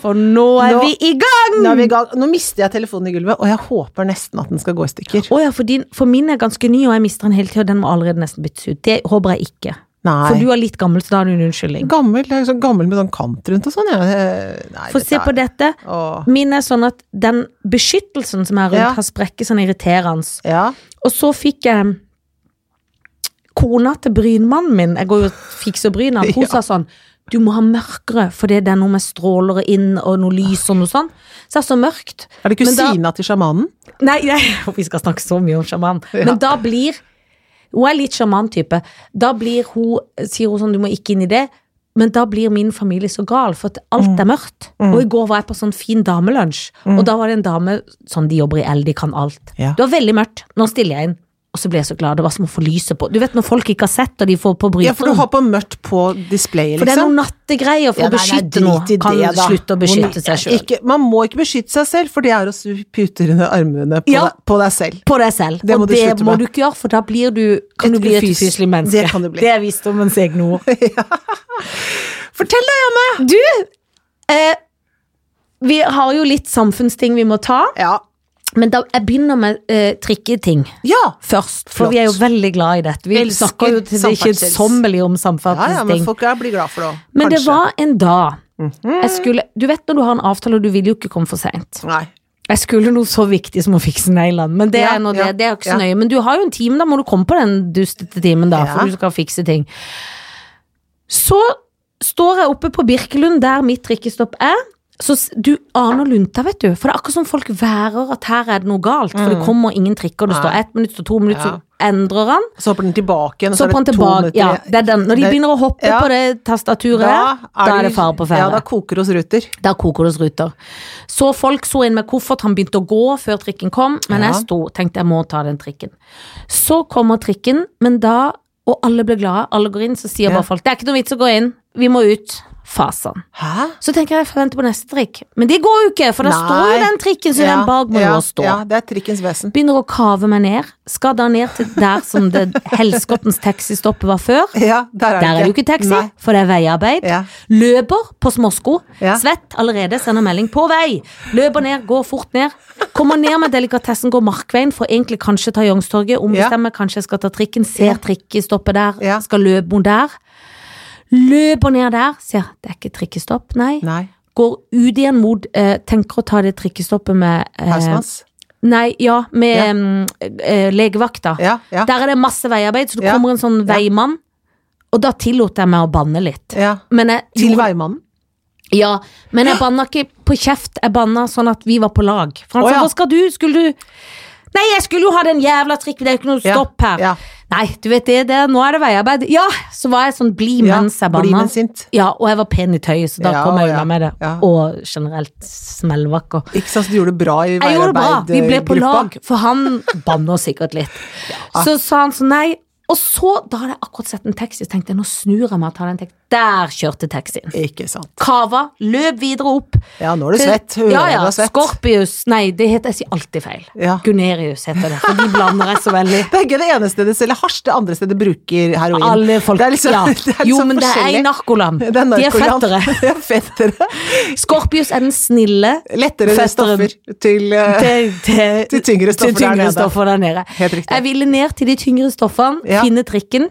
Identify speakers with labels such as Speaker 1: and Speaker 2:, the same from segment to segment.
Speaker 1: For nå er
Speaker 2: Nå-
Speaker 1: vi i gang!
Speaker 2: Nå, er vi i gang. Nå mister jeg telefonen i gulvet, og jeg håper nesten at den skal gå i stykker.
Speaker 1: Å ja, for, din, for min er ganske ny, og jeg mister den hele tida. Den må allerede nesten byttes ut. Det håper jeg ikke. For
Speaker 2: Nei.
Speaker 1: du er litt gammel, så da har du en unnskyldning.
Speaker 2: Gammel, jeg er sånn gammel med sånn kant rundt og sånn, jeg. Nei,
Speaker 1: For se på dette.
Speaker 2: Åh.
Speaker 1: Min er sånn at den beskyttelsen som er rundt,
Speaker 2: Ja.
Speaker 1: har sprekket sånn irriterende.
Speaker 2: Ja.
Speaker 1: Og så fikk jeg kona til brynmannen min, jeg går jo og fikser bryna, hun
Speaker 2: Ja.
Speaker 1: sa sånn du må ha mørkere, for det er noe med stråler inn og noe lys og noe sånn. Så det er så mørkt.
Speaker 2: Er det
Speaker 1: Men da-
Speaker 2: kusina til sjamanen?
Speaker 1: Nei, jeg- vi skal snakke så mye om sjaman.
Speaker 2: Ja.
Speaker 1: Men da blir Hun er litt sjaman-type. Da blir hun, sier hun sånn, du må ikke inn i det. Men da blir min familie så gal, for at alt
Speaker 2: Mm.
Speaker 1: er mørkt. Og i går var jeg på sånn fin damelunsj, og da var det en dame sånn, de jobber i L, de kan alt.
Speaker 2: Ja.
Speaker 1: Det var veldig mørkt. Nå stiller jeg inn. Og så ble jeg så glad. Det var som å få lyset på. Du vet når folk ikke har sett, og de får på bryteren.
Speaker 2: Ja, for du har på mørkt på displayet,
Speaker 1: For det er
Speaker 2: liksom.
Speaker 1: noen nattegreier for
Speaker 2: Ja,
Speaker 1: å
Speaker 2: nei, nei,
Speaker 1: beskytte
Speaker 2: drit
Speaker 1: noe.
Speaker 2: i
Speaker 1: Kan
Speaker 2: det, da.
Speaker 1: slutte å beskytte seg sjøl.
Speaker 2: Ikke, man må ikke beskytte seg selv, for det er å pute under armene på,
Speaker 1: Ja.
Speaker 2: deg, på deg selv.
Speaker 1: på deg selv.
Speaker 2: Det må
Speaker 1: og
Speaker 2: du
Speaker 1: det
Speaker 2: slutte
Speaker 1: må
Speaker 2: med.
Speaker 1: du ikke gjøre, for da blir du, kan
Speaker 2: Et
Speaker 1: du bli et
Speaker 2: ufys.
Speaker 1: ufyselig menneske.
Speaker 2: Det kan du bli.
Speaker 1: Det er visdommens egne ord.
Speaker 2: Fortell deg, Janne!
Speaker 1: Du, eh, vi har jo litt samfunnsting vi må ta,
Speaker 2: Ja.
Speaker 1: men da, jeg begynner med eh, trikketing
Speaker 2: ja.
Speaker 1: først. For
Speaker 2: Flott.
Speaker 1: vi er jo veldig glad i dette. Vi
Speaker 2: Elsker
Speaker 1: snakker jo til det ikke
Speaker 2: samferdsels.
Speaker 1: sommelig om
Speaker 2: Ja, ja, men
Speaker 1: samferdselsting.
Speaker 2: folk er- blir glad for det òg.
Speaker 1: men, det var en dag jeg skulle, Du vet når du har en avtale og du vil jo ikke komme for seint.
Speaker 2: Nei.
Speaker 1: Jeg skulle noe så viktig som å fikse neglene, men det
Speaker 2: Ja,
Speaker 1: er nå
Speaker 2: ja,
Speaker 1: det. Det er jo ikke så
Speaker 2: ja.
Speaker 1: nøye. Men du har jo en time, da må du komme på den dustete timen, da,
Speaker 2: Ja.
Speaker 1: for du skal fikse ting. Så står jeg oppe på Birkelund, der mitt trikkestopp er. Så s- du aner lunta, vet du. For det er akkurat som folk værer at her er det noe galt. For det kommer ingen trikker, det står ett minutt og to minutter,
Speaker 2: Mm. Ja.
Speaker 1: så endrer han.
Speaker 2: Så hopper den tilbake igjen, og
Speaker 1: Så
Speaker 2: så er
Speaker 1: hopper han
Speaker 2: det to
Speaker 1: tilbake.
Speaker 2: minutter
Speaker 1: Ja, det er den. Når de
Speaker 2: Det-
Speaker 1: begynner å hoppe
Speaker 2: Ja.
Speaker 1: på det tastaturet, da, er det fare på
Speaker 2: Ja,
Speaker 1: ferde.
Speaker 2: da koker hos Ruter.
Speaker 1: Der koker det hos ruter. Så folk så inn med koffert, han begynte å gå før trikken kom, men
Speaker 2: Ja.
Speaker 1: jeg sto, tenkte jeg må ta den trikken. Så kommer trikken, men da, og alle blir glade, alle går inn, så sier
Speaker 2: Ja.
Speaker 1: bare folk det er ikke noe vits å gå inn, vi må ut. Fasan.
Speaker 2: Hæ?
Speaker 1: Så tenker jeg jeg får vente på neste trikk, men det går jo ikke, for da
Speaker 2: Nei.
Speaker 1: står jo den trikken, så den bak må
Speaker 2: ja,
Speaker 1: jo også stå.
Speaker 2: Ja, det er trikkens vesen.
Speaker 1: Begynner å kave meg ned, skal da ned til der som det Helskottens taxistoppet var før.
Speaker 2: Ja, der er,
Speaker 1: Der er det jo ikke taxi,
Speaker 2: Nei.
Speaker 1: for det er veiarbeid.
Speaker 2: Ja.
Speaker 1: Løper på småsko.
Speaker 2: Ja.
Speaker 1: Svett allerede, sender melding 'på vei'. Løper ned, går fort ned. Kommer ned med delikatessen, går Markveien, for egentlig kanskje ta Youngstorget. Ombestemmer, kanskje jeg skal ta trikken. Ser trikkestoppet der,
Speaker 2: Ja.
Speaker 1: skal løpe mot der. Løper ned der, sier 'det er ikke trikkestopp', nei.
Speaker 2: Nei.
Speaker 1: Går ut igjen mot eh, Tenker å ta det trikkestoppet med eh,
Speaker 2: Hausmanns.
Speaker 1: Nei, ja, med
Speaker 2: Ja.
Speaker 1: em, eh, legevakta.
Speaker 2: Ja, ja.
Speaker 1: Der er det masse veiarbeid, så det
Speaker 2: Ja.
Speaker 1: kommer en sånn
Speaker 2: Ja.
Speaker 1: veimann. Og da tillot jeg meg å banne litt.
Speaker 2: ja.
Speaker 1: Men jeg,
Speaker 2: Til
Speaker 1: gjorde-
Speaker 2: veimannen.
Speaker 1: ja, men jeg banna ikke på kjeft, jeg banna sånn at vi var på lag. For han
Speaker 2: Å,
Speaker 1: sa
Speaker 2: ja.
Speaker 1: hva skal du, skulle du Nei, jeg skulle jo ha den jævla trikken, det er jo ikke noe
Speaker 2: Ja,
Speaker 1: stopp her.
Speaker 2: ja.
Speaker 1: Nei, du vet det, det, er- nå er det veiarbeid. Ja! Så var jeg sånn blid
Speaker 2: Ja,
Speaker 1: mens jeg
Speaker 2: bli
Speaker 1: banna.
Speaker 2: men sint.
Speaker 1: Ja, og jeg var pen i tøyet, så da
Speaker 2: Ja,
Speaker 1: kom jeg
Speaker 2: ja,
Speaker 1: unna med det.
Speaker 2: ja.
Speaker 1: Og generelt smellvakker.
Speaker 2: Ikke sant, så du gjorde det bra i eh,
Speaker 1: Jeg gjorde det bra, vi ble på
Speaker 2: veiarbeidgruppa.
Speaker 1: lag, for han banner sikkert litt. Så sa han sånn nei, og så, da hadde jeg akkurat sett en taxi, så tenkte jeg nå snur jeg meg og tar den taxien. Der kjørte taxien.
Speaker 2: Ikke sant.
Speaker 1: Kava, løp videre opp.
Speaker 2: Ja, nå er du svett. Hører
Speaker 1: Ja, ja,
Speaker 2: du er svett.
Speaker 1: Skorpius, nei, det heter, jeg sier alltid feil.
Speaker 2: Ja.
Speaker 1: Gunerius heter det, for de blander jeg så veldig.
Speaker 2: Det er ikke det ene stedet selger hasj, det andre stedet bruker heroin.
Speaker 1: Alle folk,
Speaker 2: det er liksom,
Speaker 1: ja.
Speaker 2: det er
Speaker 1: Jo,
Speaker 2: liksom
Speaker 1: men det er
Speaker 2: forskjellig.
Speaker 1: en narkoland.
Speaker 2: Det er
Speaker 1: De er
Speaker 2: narkoland.
Speaker 1: fettere.
Speaker 2: De er fettere.
Speaker 1: Skorpius er den snille.
Speaker 2: Lettere
Speaker 1: Fetteren.
Speaker 2: stoffer til eh,
Speaker 1: Til, til,
Speaker 2: Til tyngre
Speaker 1: til
Speaker 2: stoffer der
Speaker 1: tyngre
Speaker 2: nede.
Speaker 1: stoffer der nede.
Speaker 2: Helt riktig.
Speaker 1: Jeg ville ned til de tyngre stoffene,
Speaker 2: Ja. Mhm.
Speaker 1: finne trikken.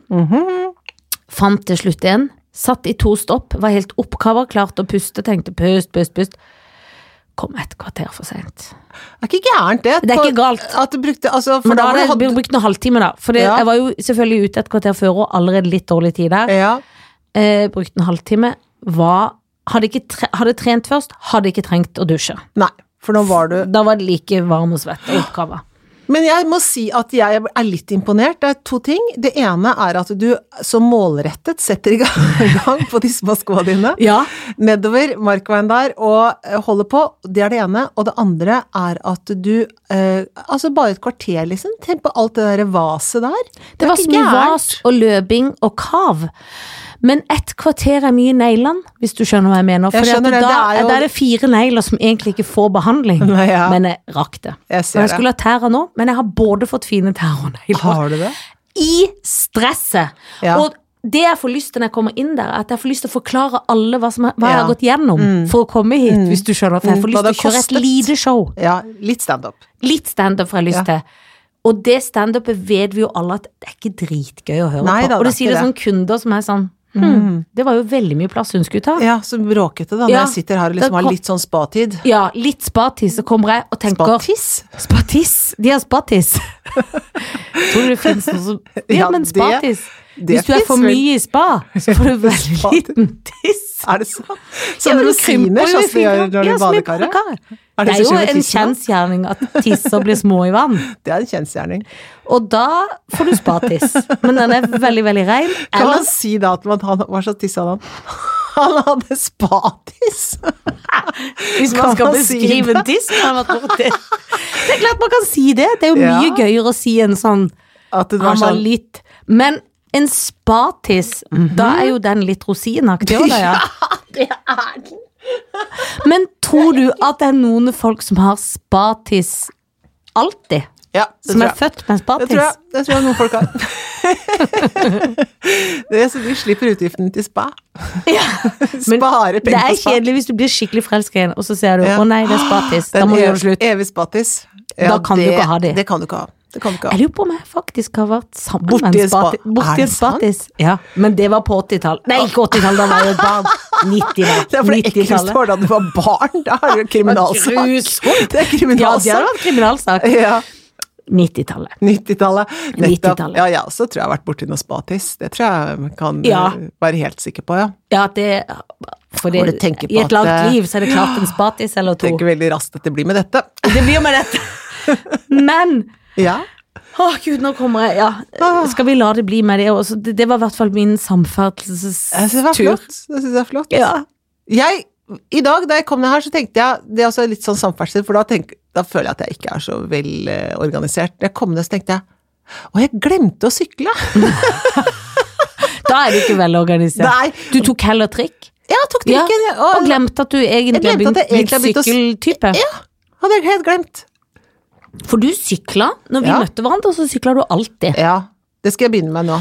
Speaker 1: Fant til slutt en. Satt i to stopp, var helt oppkava, klarte å puste, tenkte pust, pust, pust. Kom et kvarter for seint.
Speaker 2: Det er ikke gærent, det.
Speaker 1: Det er ikke galt.
Speaker 2: At du brukte, altså, for
Speaker 1: Men da
Speaker 2: da
Speaker 1: hadde jeg
Speaker 2: var det
Speaker 1: brukt noen halvtime, da. For det,
Speaker 2: Ja.
Speaker 1: jeg var jo selvfølgelig ute et kvarter før og allerede litt dårlig tid der.
Speaker 2: ja,
Speaker 1: Eh, brukt en halvtime. Var, hadde, ikke tre, hadde trent først, hadde ikke trengt å dusje.
Speaker 2: Nei, for nå var du
Speaker 1: Da var det like varm og svett og oppkava.
Speaker 2: Men jeg må si at jeg er litt imponert. Det er to ting. Det ene er at du så målrettet setter i gang på de små skoene dine.
Speaker 1: Ja.
Speaker 2: Nedover Markveien der og eh, holder på. Det er det ene. Og det andre er at du eh, Altså, bare et kvarter, liksom. Tenk på alt det derre vaset der.
Speaker 1: Det var så mye vas og løping og kav. Men ett kvarter er mye neglene, hvis du skjønner hva jeg mener.
Speaker 2: Jeg
Speaker 1: Fordi at
Speaker 2: skjønner det.
Speaker 1: Da,
Speaker 2: Det er jo-
Speaker 1: da er det fire negler som egentlig ikke får behandling,
Speaker 2: Nei, ja.
Speaker 1: men jeg rakk det.
Speaker 2: Jeg
Speaker 1: Og
Speaker 2: ser
Speaker 1: jeg skulle ha tæra nå, men jeg har både fått fine tær og
Speaker 2: det.
Speaker 1: negler.
Speaker 2: Har du det?
Speaker 1: I stresset!
Speaker 2: Ja.
Speaker 1: Og det jeg får lyst til når jeg kommer inn der, er at jeg får lyst til å forklare alle hva, som er, hva jeg
Speaker 2: Ja.
Speaker 1: har gått gjennom for å komme hit, hvis du skjønner. For jeg
Speaker 2: Mm,
Speaker 1: får lyst
Speaker 2: hva
Speaker 1: til
Speaker 2: det
Speaker 1: å kjøre
Speaker 2: kostet.
Speaker 1: et lite show.
Speaker 2: Ja, litt standup.
Speaker 1: Litt standup får jeg lyst til. Og det standupet vet vi jo alle at det er ikke dritgøy å høre på.
Speaker 2: Nei da,
Speaker 1: og
Speaker 2: det
Speaker 1: det sier
Speaker 2: er ikke
Speaker 1: det sånn kunder som er sånn hm, Det var jo veldig mye plass hun skulle ta. Ja,
Speaker 2: Ja, så bråkete, da, når
Speaker 1: Ja.
Speaker 2: jeg sitter her og
Speaker 1: Det
Speaker 2: liksom har
Speaker 1: kom-
Speaker 2: litt sånn spatid.
Speaker 1: litt spatiss, så kommer jeg og tenker
Speaker 2: Spatiss?
Speaker 1: Spatiss? De har spatiss. Tror du det fins noe som Ja,
Speaker 2: Ja,
Speaker 1: men
Speaker 2: det-
Speaker 1: spatiss.
Speaker 2: det
Speaker 1: Hvis du er for
Speaker 2: finnes vel.
Speaker 1: mye i spa, så får du veldig
Speaker 2: Spatiss.
Speaker 1: liten tiss.
Speaker 2: Er det sånn?
Speaker 1: Ja,
Speaker 2: Som
Speaker 1: men du krymper
Speaker 2: rosiner,
Speaker 1: jo i
Speaker 2: sånn som de gjør
Speaker 1: fingrene.
Speaker 2: når de
Speaker 1: Ja, som i
Speaker 2: badekaret?
Speaker 1: badekaret.
Speaker 2: Er
Speaker 1: Det
Speaker 2: det
Speaker 1: er
Speaker 2: som
Speaker 1: jo
Speaker 2: skjer med
Speaker 1: en
Speaker 2: tissen, da?
Speaker 1: kjensgjerning at tisser blir små i vann.
Speaker 2: Det er en kjensgjerning.
Speaker 1: Og da får du spatiss. Men den er veldig, veldig rein.
Speaker 2: Kan man
Speaker 1: Ellers
Speaker 2: si da at man, han, hva slags tiss hadde han? Han hadde spatiss!
Speaker 1: Hvis man
Speaker 2: Kan
Speaker 1: skal
Speaker 2: man si
Speaker 1: beskrive
Speaker 2: det?
Speaker 1: en tiss, kan man tro det. Det er klart man kan si det. Det er jo mye
Speaker 2: Ja.
Speaker 1: gøyere å si enn sånn
Speaker 2: At det var
Speaker 1: Han var
Speaker 2: sånn
Speaker 1: litt Men en spatiss,
Speaker 2: Mhm.
Speaker 1: da er jo den litt rosinaktig òg, da, ja. Men tror du at det er noen folk som har spatiss alltid?
Speaker 2: Ja, det
Speaker 1: Som
Speaker 2: tror
Speaker 1: er
Speaker 2: jeg.
Speaker 1: født med en
Speaker 2: Det tror jeg,
Speaker 1: spatiss?
Speaker 2: det tror jeg noen folk har. det er så De slipper utgiftene til spa.
Speaker 1: Men
Speaker 2: Sparer
Speaker 1: Det
Speaker 2: penger
Speaker 1: er
Speaker 2: på spa.
Speaker 1: kjedelig hvis du blir skikkelig forelska i en, og så ser du
Speaker 2: Ja.
Speaker 1: 'å nei, det er spatiss', da
Speaker 2: Den
Speaker 1: må du gjøre det
Speaker 2: ev-
Speaker 1: slutt.
Speaker 2: Evig spattis.
Speaker 1: Da kan du ikke ha de.
Speaker 2: Det kan du ikke ha. Det kan du ikke
Speaker 1: Jeg
Speaker 2: ha.
Speaker 1: lurer på om jeg faktisk har vært sammen
Speaker 2: Borti
Speaker 1: med en
Speaker 2: en spa-
Speaker 1: spati-
Speaker 2: Er
Speaker 1: borti
Speaker 2: det
Speaker 1: en spatis. Ja, men det var på 80-tallet. Nei, ikke 80-tallet, da var jeg jo et barn. 90-tallet.
Speaker 2: Det er for det ekleste
Speaker 1: 90-tallet.
Speaker 2: var da du var barn. Da er det kriminalsak.
Speaker 1: Grusomt.
Speaker 2: Det
Speaker 1: Ja,
Speaker 2: er
Speaker 1: det hadde
Speaker 2: kriminalsak.
Speaker 1: vært kriminalsak.
Speaker 2: Ja,
Speaker 1: 90-tallet.
Speaker 2: 90-tallet. Nettopp.
Speaker 1: 90-tallet.
Speaker 2: Ja, ja, så tror jeg jeg har vært borti noe spatis. Det tror jeg jeg kan eh,
Speaker 1: Ja.
Speaker 2: være helt sikker på, ja.
Speaker 1: Ja, at det For
Speaker 2: Hvor
Speaker 1: det,
Speaker 2: du tenker på
Speaker 1: i et
Speaker 2: at
Speaker 1: langt
Speaker 2: det-
Speaker 1: liv så er det klart en spatis eller to.
Speaker 2: Tenker veldig raskt at det blir med dette.
Speaker 1: Det blir med dette. Men
Speaker 2: Ja.
Speaker 1: Å, gud, nå kommer jeg Ja, skal vi la det bli med det også? Det, det var i hvert fall min
Speaker 2: Jeg synes det er
Speaker 1: samferdselstur.
Speaker 2: flott. Jeg synes det er flott.
Speaker 1: Ja.
Speaker 2: Jeg, I dag da jeg kom ned her, så tenkte jeg Det er også litt sånn samferdsel, for da, tenk, da føler jeg at jeg ikke er så velorganisert. Når jeg kom ned, så tenkte jeg å, jeg glemte å sykle!
Speaker 1: Da er du ikke velorganisert.
Speaker 2: Nei.
Speaker 1: Du tok heller trikk?
Speaker 2: Ja, jeg tok trikken! jeg,
Speaker 1: Og glemte at du egentlig
Speaker 2: Jeg
Speaker 1: har
Speaker 2: glemte at
Speaker 1: begynt
Speaker 2: jeg egentlig har
Speaker 1: blitt
Speaker 2: begynt å-
Speaker 1: sykkeltype?
Speaker 2: Ja, hadde jeg helt glemt.
Speaker 1: For du sykla når vi
Speaker 2: Ja.
Speaker 1: møtte hverandre, så sykla du alltid.
Speaker 2: Ja, det skal jeg begynne med nå.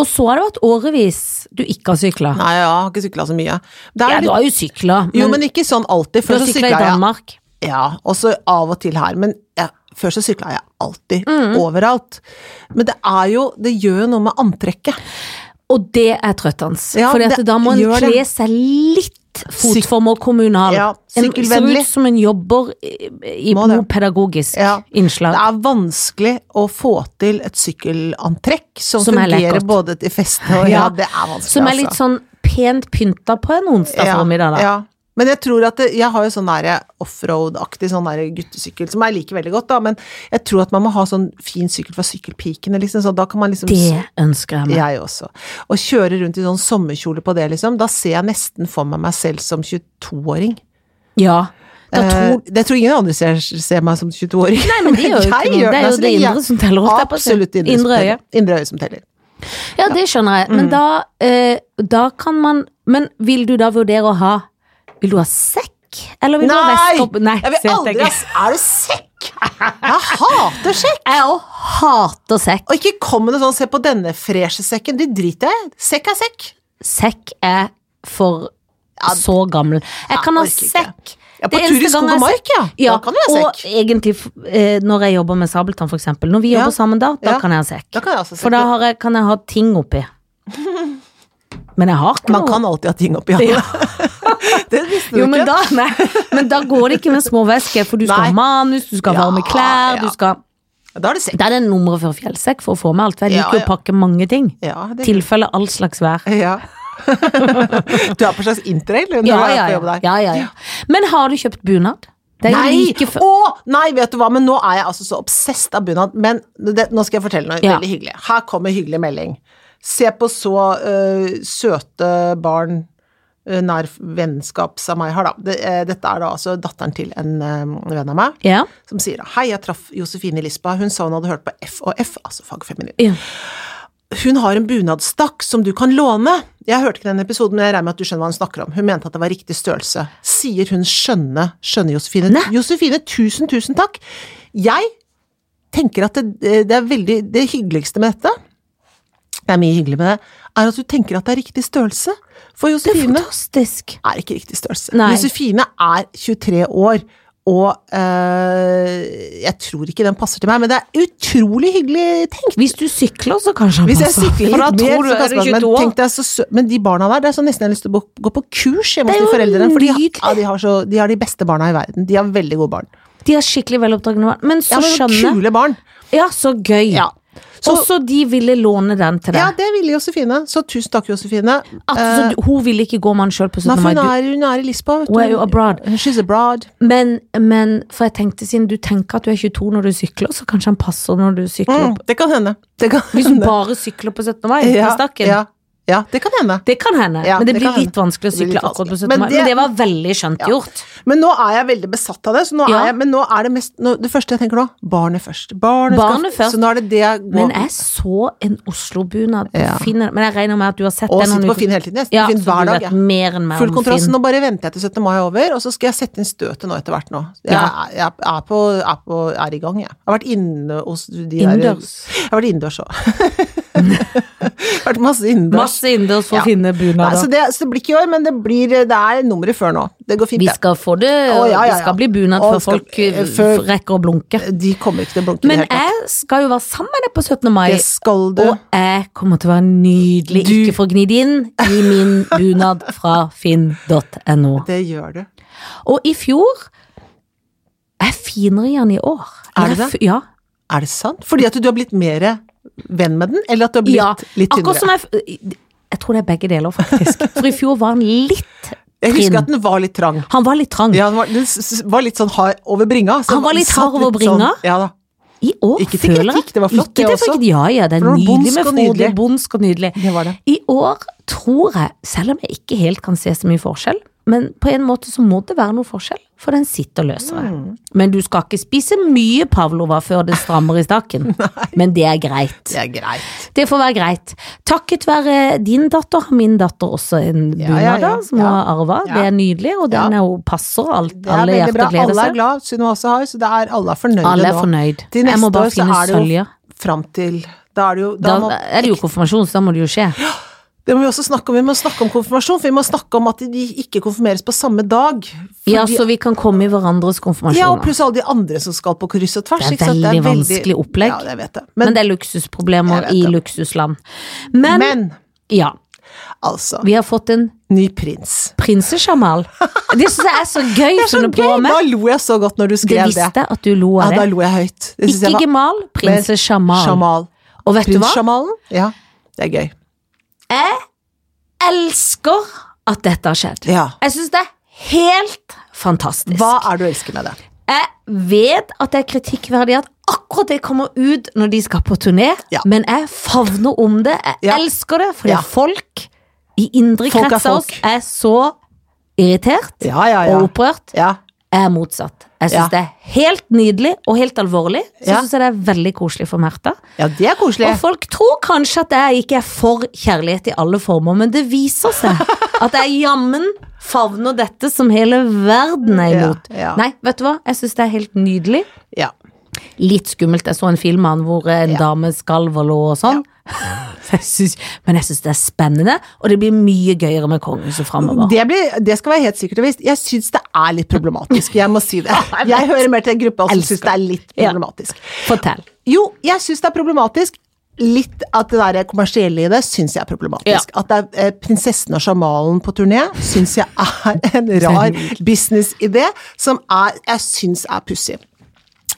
Speaker 1: Og så har det vært årevis du ikke har sykla.
Speaker 2: Nei, jeg har ikke sykla så mye. Det er
Speaker 1: Ja, du
Speaker 2: litt,
Speaker 1: har jo sykla,
Speaker 2: jo,
Speaker 1: men
Speaker 2: men ikke sånn alltid.
Speaker 1: du
Speaker 2: Før
Speaker 1: har
Speaker 2: så
Speaker 1: sykla i
Speaker 2: sykla jeg
Speaker 1: Danmark.
Speaker 2: Ja, og så av og til her, men ja, før så sykla jeg alltid,
Speaker 1: Mm.
Speaker 2: overalt. Men det er jo Det gjør jo noe med antrekket.
Speaker 1: Og det er trøttende.
Speaker 2: Ja,
Speaker 1: Fordi at
Speaker 2: det
Speaker 1: da må en
Speaker 2: gjør det.
Speaker 1: kle seg litt
Speaker 2: Syk-
Speaker 1: fotform og kommunal.
Speaker 2: Ja,
Speaker 1: en ser
Speaker 2: sykkelvennlig.
Speaker 1: ut som en jobber i, i
Speaker 2: Må det.
Speaker 1: noe pedagogisk
Speaker 2: Ja.
Speaker 1: innslag.
Speaker 2: Det er vanskelig å få til et sykkelantrekk som,
Speaker 1: Som er
Speaker 2: fungerer
Speaker 1: lekkert.
Speaker 2: både til fest og Ja,
Speaker 1: Ja.
Speaker 2: det er vanskelig,
Speaker 1: som er litt sånn pent pynta på en onsdag formiddag. da.
Speaker 2: altså. Ja. Men jeg tror at det, jeg har jo sånn der offroad-aktig sånn der guttesykkel, som jeg liker veldig godt, da, men jeg tror at man må ha sånn fin sykkel fra sykkelpikene, liksom, så da kan man liksom
Speaker 1: Det ønsker jeg meg.
Speaker 2: Jeg også. Å kjøre rundt i sånn sommerkjole på det, liksom, da ser jeg nesten for meg meg selv som 22-åring.
Speaker 1: Ja. Da
Speaker 2: Eh,
Speaker 1: tror
Speaker 2: det tror ingen andre ser, ser meg som 22-åring.
Speaker 1: Nei, men det gjør jo ikke noe. Det er jo det indre som teller, holdt jeg på å si.
Speaker 2: Absolutt det indre,
Speaker 1: Indre
Speaker 2: som
Speaker 1: øye.
Speaker 2: teller. Indre øye som teller.
Speaker 1: Ja, det skjønner jeg. Men
Speaker 2: Mm.
Speaker 1: da, eh, da kan man Men vil du da vurdere å ha Vil du ha sekk? Eller vil du ha
Speaker 2: Nei!
Speaker 1: veske opp Nei!
Speaker 2: Jeg vil
Speaker 1: så
Speaker 2: aldri
Speaker 1: tenker-
Speaker 2: ha Er du sekk?! Jeg hater sekk!
Speaker 1: Jeg òg hater sekk.
Speaker 2: Og ikke kom med noe sånn 'se på denne freshe sekken', det driter jeg i. Sekk er sekk.
Speaker 1: sekk er for
Speaker 2: Ja,
Speaker 1: så gammel. Jeg kan ha
Speaker 2: orker ikke.
Speaker 1: sekk.
Speaker 2: Ja,
Speaker 1: Det
Speaker 2: på
Speaker 1: eneste
Speaker 2: tur i skog
Speaker 1: gang jeg
Speaker 2: og mark, ja.
Speaker 1: Ja,
Speaker 2: Da kan du ha sekk.
Speaker 1: og egentlig f- eh, når jeg jobber med Sabeltann, for eksempel. Når vi
Speaker 2: Ja.
Speaker 1: jobber sammen da, da
Speaker 2: Ja.
Speaker 1: kan jeg ha sekk.
Speaker 2: Da kan jeg altså ha sekk,
Speaker 1: for da
Speaker 2: ja.
Speaker 1: har jeg, kan jeg ha ting oppi. Men jeg har ikke
Speaker 2: Man
Speaker 1: noe.
Speaker 2: kan alltid ha ting oppi hånda. det visste du
Speaker 1: jo, men
Speaker 2: ikke.
Speaker 1: da, nei, men da går det ikke med små vesker, for du skal
Speaker 2: Nei.
Speaker 1: ha manus, du skal ha
Speaker 2: Ja,
Speaker 1: varme klær,
Speaker 2: ja.
Speaker 1: du skal
Speaker 2: Da er det sekk.
Speaker 1: Da er det nummeret før fjellsekk for å få med alt. for Jeg
Speaker 2: Ja,
Speaker 1: liker jo
Speaker 2: ja.
Speaker 1: å pakke mange ting.
Speaker 2: Ja, det
Speaker 1: Tilfelle all slags vær.
Speaker 2: ja. Du er på slags interrail når
Speaker 1: Ja,
Speaker 2: du er
Speaker 1: ja,
Speaker 2: på
Speaker 1: ja.
Speaker 2: jobb der.
Speaker 1: ja, ja, ja. Men har du kjøpt bunad? Det er jo
Speaker 2: Nei!
Speaker 1: like før.
Speaker 2: Å, nei, vet du hva, men nå er jeg altså så obsesst av bunad. Men det, nå skal jeg fortelle noe
Speaker 1: Ja.
Speaker 2: veldig hyggelig. Her kommer hyggelig melding. Se på så øh, søte barn øh, nær vennskaps av meg har, da. Det, eh, dette er da altså datteren til en eh, venn av meg.
Speaker 1: Ja.
Speaker 2: Som sier da, hei, jeg traff Josefine i Lisboa, hun sa hun hadde hørt på FHF, altså fagfeminin.
Speaker 1: Ja.
Speaker 2: Hun har en bunadstakk som du kan låne. Jeg hørte ikke den episoden, men jeg regner med at du skjønner hva hun snakker om. Hun mente at det var riktig størrelse. Sier hun skjønne, skjønne Josefine.
Speaker 1: Nei.
Speaker 2: Josefine, tusen, tusen takk. Jeg tenker at det, det er veldig Det hyggeligste med dette, det er mye hyggelig med det, er at du tenker at det er riktig størrelse. For
Speaker 1: Det er
Speaker 2: Josefine
Speaker 1: fantastisk.
Speaker 2: er ikke riktig størrelse.
Speaker 1: Nei.
Speaker 2: Josefine er 23 år, og eh, jeg tror ikke den passer til meg, men det er utrolig hyggelig tenkt.
Speaker 1: Hvis du sykler, så kanskje han
Speaker 2: Hvis jeg sykler litt
Speaker 1: For da
Speaker 2: mer,
Speaker 1: tror du
Speaker 2: så
Speaker 1: er
Speaker 2: passer
Speaker 1: du
Speaker 2: det. sånn, Men,
Speaker 1: 22
Speaker 2: tenk
Speaker 1: år.
Speaker 2: deg så sø men de barna der, det er så nesten jeg har lyst til å gå- gå på kurs hjemme
Speaker 1: Det er
Speaker 2: hos de
Speaker 1: jo
Speaker 2: foreldrene. For de, har-
Speaker 1: nydelig.
Speaker 2: ja, de, har så, de har de beste barna i verden. De har veldig gode barn.
Speaker 1: De er skikkelig veloppdragne barn. Men så
Speaker 2: Ja, men
Speaker 1: skjønner
Speaker 2: kule barn.
Speaker 1: Ja, så gøy.
Speaker 2: Ja. Så,
Speaker 1: Også de ville låne den til deg.
Speaker 2: ja, eh, det ville Josefine. Så tusen takk, Josefine.
Speaker 1: At, så, du- hun ville ikke gå med han sjøl på 17.
Speaker 2: Nei, for
Speaker 1: mai.
Speaker 2: hun
Speaker 1: Du,
Speaker 2: er, hun er i Lisboa. vet du.
Speaker 1: Hun er jo abroad.
Speaker 2: She's abroad.
Speaker 1: men, men for jeg tenkte siden du tenker at du er 22 når du sykler, så kanskje han passer når du sykler
Speaker 2: Mm,
Speaker 1: opp.
Speaker 2: det kan hende. Det kan
Speaker 1: Hvis du
Speaker 2: hende.
Speaker 1: bare sykler på 17. mai,
Speaker 2: ja,
Speaker 1: med stakken.
Speaker 2: ja, ja, det kan hende.
Speaker 1: Det kan hende,
Speaker 2: Ja,
Speaker 1: men det,
Speaker 2: det
Speaker 1: blir
Speaker 2: kan
Speaker 1: litt vanskelig å
Speaker 2: Det
Speaker 1: sykle
Speaker 2: blir litt
Speaker 1: akkurat på 17.
Speaker 2: vanskelig. Men
Speaker 1: mai.
Speaker 2: det-
Speaker 1: Men det var veldig skjønt gjort.
Speaker 2: Men nå er jeg veldig besatt av det, så nå
Speaker 1: Ja.
Speaker 2: er jeg, men nå er det mest nå, Det første jeg tenker nå, barnet først. Barnet,
Speaker 1: Barnet først.
Speaker 2: Så nå er det det jeg går
Speaker 1: Men jeg så en Oslo-bunad på
Speaker 2: Ja.
Speaker 1: Finn. Men jeg regner med at du har sett
Speaker 2: Og
Speaker 1: den.
Speaker 2: sitter
Speaker 1: noen
Speaker 2: på
Speaker 1: uker-
Speaker 2: Finn hele tiden. Jeg sitter
Speaker 1: Ja,
Speaker 2: på Finn
Speaker 1: så
Speaker 2: hver
Speaker 1: du
Speaker 2: dag,
Speaker 1: vet
Speaker 2: jeg.
Speaker 1: mer enn meg
Speaker 2: Full
Speaker 1: om
Speaker 2: kontrast.
Speaker 1: Finn.
Speaker 2: Nå bare venter jeg til 17. mai er over, og så skal jeg sette inn støtet nå etter hvert nå. Jeg,
Speaker 1: Ja.
Speaker 2: er- jeg er, på, er, på, er i gang, jeg. Jeg har vært inne hos de der-
Speaker 1: Innendørs.
Speaker 2: Jeg har vært innendørs òg. vært masse innendørs.
Speaker 1: Masse innendørs for
Speaker 2: Ja.
Speaker 1: å finne
Speaker 2: Nei, så,
Speaker 1: bunader.
Speaker 2: det, så det blir ikke i år, men det, blir, det er nummeret før nå. Det går fint,
Speaker 1: Vi
Speaker 2: det.
Speaker 1: skal få det,
Speaker 2: Å, ja, ja,
Speaker 1: det skal
Speaker 2: ja.
Speaker 1: bli bunad
Speaker 2: Å,
Speaker 1: før
Speaker 2: skal-
Speaker 1: folk eh,
Speaker 2: eh, før-
Speaker 1: rekker å blunke.
Speaker 2: De kommer ikke til å blunke i det
Speaker 1: Men
Speaker 2: hele tatt.
Speaker 1: jeg skal jo være sammen med deg på 17. mai,
Speaker 2: Det skal du.
Speaker 1: og jeg kommer til å være nydelig
Speaker 2: Du-
Speaker 1: ikke for gnidd inn i min bunad fra finn.no.
Speaker 2: Det gjør du.
Speaker 1: Og i fjor Jeg er finere i den i år.
Speaker 2: Er du
Speaker 1: Jeg
Speaker 2: det?
Speaker 1: f- Ja.
Speaker 2: Er det sant? Fordi at du har blitt mer venn med den, eller at du har blitt
Speaker 1: ja.
Speaker 2: litt
Speaker 1: Akkurat som
Speaker 2: tynnere?
Speaker 1: jeg f- Jeg tror det er begge deler, faktisk. For i fjor var han litt trinn.
Speaker 2: Jeg husker at den var litt trang.
Speaker 1: Han var litt trang.
Speaker 2: Ja, den var, den s- s- var litt sånn hard over bringa. så
Speaker 1: Han var
Speaker 2: den
Speaker 1: litt
Speaker 2: satt
Speaker 1: hard over
Speaker 2: litt sånn-
Speaker 1: bringa.
Speaker 2: ja da.
Speaker 1: I år
Speaker 2: Ikke til
Speaker 1: føler jeg-
Speaker 2: kritikk, det var flott,
Speaker 1: Ikke
Speaker 2: det
Speaker 1: til
Speaker 2: også.
Speaker 1: kritikk, Ja, ja, det er
Speaker 2: For det var
Speaker 1: nydelig
Speaker 2: bonsk
Speaker 1: med
Speaker 2: og
Speaker 1: Frode.
Speaker 2: nydelig.
Speaker 1: Bonsk og nydelig.
Speaker 2: Det var det.
Speaker 1: I år tror jeg, selv om jeg ikke helt kan se så mye forskjell, men på en måte så må det være noe forskjell, for den sitter løsere.
Speaker 2: Mm.
Speaker 1: Men du skal ikke spise mye pavlova før det strammer i staken. men det er greit.
Speaker 2: Det er greit.
Speaker 1: Det får være greit. Takket være din datter har min datter også en
Speaker 2: Ja,
Speaker 1: bunad
Speaker 2: ja, ja.
Speaker 1: da, som hun
Speaker 2: Ja.
Speaker 1: har arva.
Speaker 2: Ja.
Speaker 1: Det er nydelig, og den er jo passer og alt.
Speaker 2: Det er
Speaker 1: Alle
Speaker 2: veldig
Speaker 1: hjerter
Speaker 2: bra.
Speaker 1: gleder
Speaker 2: Alle er
Speaker 1: seg.
Speaker 2: glad, Sunniva også har, så det er alle er fornøyde
Speaker 1: Alle er
Speaker 2: nå.
Speaker 1: fornøyd.
Speaker 2: Til
Speaker 1: Jeg må
Speaker 2: neste
Speaker 1: bare
Speaker 2: år så
Speaker 1: finne
Speaker 2: er det jo
Speaker 1: sølja.
Speaker 2: Fram til Da er det jo da
Speaker 1: Da
Speaker 2: må,
Speaker 1: er det jo konfirmasjon, så da må det jo skje.
Speaker 2: Det må vi også snakke om. Vi må snakke om konfirmasjon, for vi må snakke om at de ikke konfirmeres på samme dag.
Speaker 1: Ja,
Speaker 2: Fordi-
Speaker 1: så vi kan komme i hverandres
Speaker 2: ja, og
Speaker 1: konfirmasjoner.
Speaker 2: pluss alle de andre som skal på kryss og
Speaker 1: Det
Speaker 2: tvers.
Speaker 1: er
Speaker 2: ikke sant?
Speaker 1: veldig vanskelig opplegg.
Speaker 2: Ja, jeg vet det.
Speaker 1: Men
Speaker 2: Men,
Speaker 1: det er luksusproblemer
Speaker 2: Jeg vet
Speaker 1: i
Speaker 2: det.
Speaker 1: luksusland. Men,
Speaker 2: men
Speaker 1: ja,
Speaker 2: altså.
Speaker 1: vi har fått en
Speaker 2: Ny prins.
Speaker 1: prinsesjamal. Det syns jeg er så gøy!
Speaker 2: Det er så
Speaker 1: Funnet på
Speaker 2: gøy!
Speaker 1: med.
Speaker 2: Da lo jeg så godt når du
Speaker 1: Det
Speaker 2: skrev det.
Speaker 1: visste jeg at du lo
Speaker 2: Ja,
Speaker 1: av
Speaker 2: da
Speaker 1: det.
Speaker 2: lo jeg høyt. Det synes
Speaker 1: Ikke
Speaker 2: jeg var-
Speaker 1: gemal, prinsesjamal.
Speaker 2: Sjamal.
Speaker 1: Og vet du hva?
Speaker 2: Prinssjamalen? Ja, det er gøy.
Speaker 1: Elsker at dette har skjedd.
Speaker 2: Ja.
Speaker 1: Jeg syns det er helt fantastisk.
Speaker 2: Hva er det du elsker med det?
Speaker 1: Jeg vet at det er kritikkverdig at akkurat det kommer ut når de skal på turné,
Speaker 2: Ja.
Speaker 1: men jeg favner om det. Jeg
Speaker 2: Ja.
Speaker 1: elsker det, fordi
Speaker 2: Ja.
Speaker 1: folk i indre
Speaker 2: Folk er
Speaker 1: krets av oss
Speaker 2: folk.
Speaker 1: er så irritert
Speaker 2: Ja, ja, ja.
Speaker 1: og opprørt.
Speaker 2: ja.
Speaker 1: Jeg er motsatt. Jeg syns
Speaker 2: Ja.
Speaker 1: det er helt nydelig og helt alvorlig. Så
Speaker 2: Ja.
Speaker 1: synes jeg det er veldig koselig for Märtha.
Speaker 2: ja det er koselig.
Speaker 1: Og folk tror kanskje at jeg ikke er for kjærlighet i alle former, men det viser seg at jeg jammen favner dette som hele verden er imot.
Speaker 2: Ja, ja.
Speaker 1: Nei, vet du hva? Jeg syns det er helt nydelig.
Speaker 2: Ja.
Speaker 1: Litt skummelt. Jeg så en film av han hvor en
Speaker 2: Ja.
Speaker 1: dame skalv og lå og sånn. Jeg synes, men jeg syns det er spennende, og det blir mye gøyere med kongehuset framover.
Speaker 2: Det, blir, det skal være helt sikkert og visst. Jeg syns det er litt problematisk, jeg må si det. Jeg hører mer til en gruppe som
Speaker 1: Elsker.
Speaker 2: syns det er litt
Speaker 1: Ja.
Speaker 2: problematisk.
Speaker 1: Fortell.
Speaker 2: Jo, jeg syns det er problematisk. Litt at det der kommersielle i det syns jeg er problematisk. At det er eh, prinsessen og sjamalen på turné syns jeg er en rar businessidé som er, jeg syns er pussig.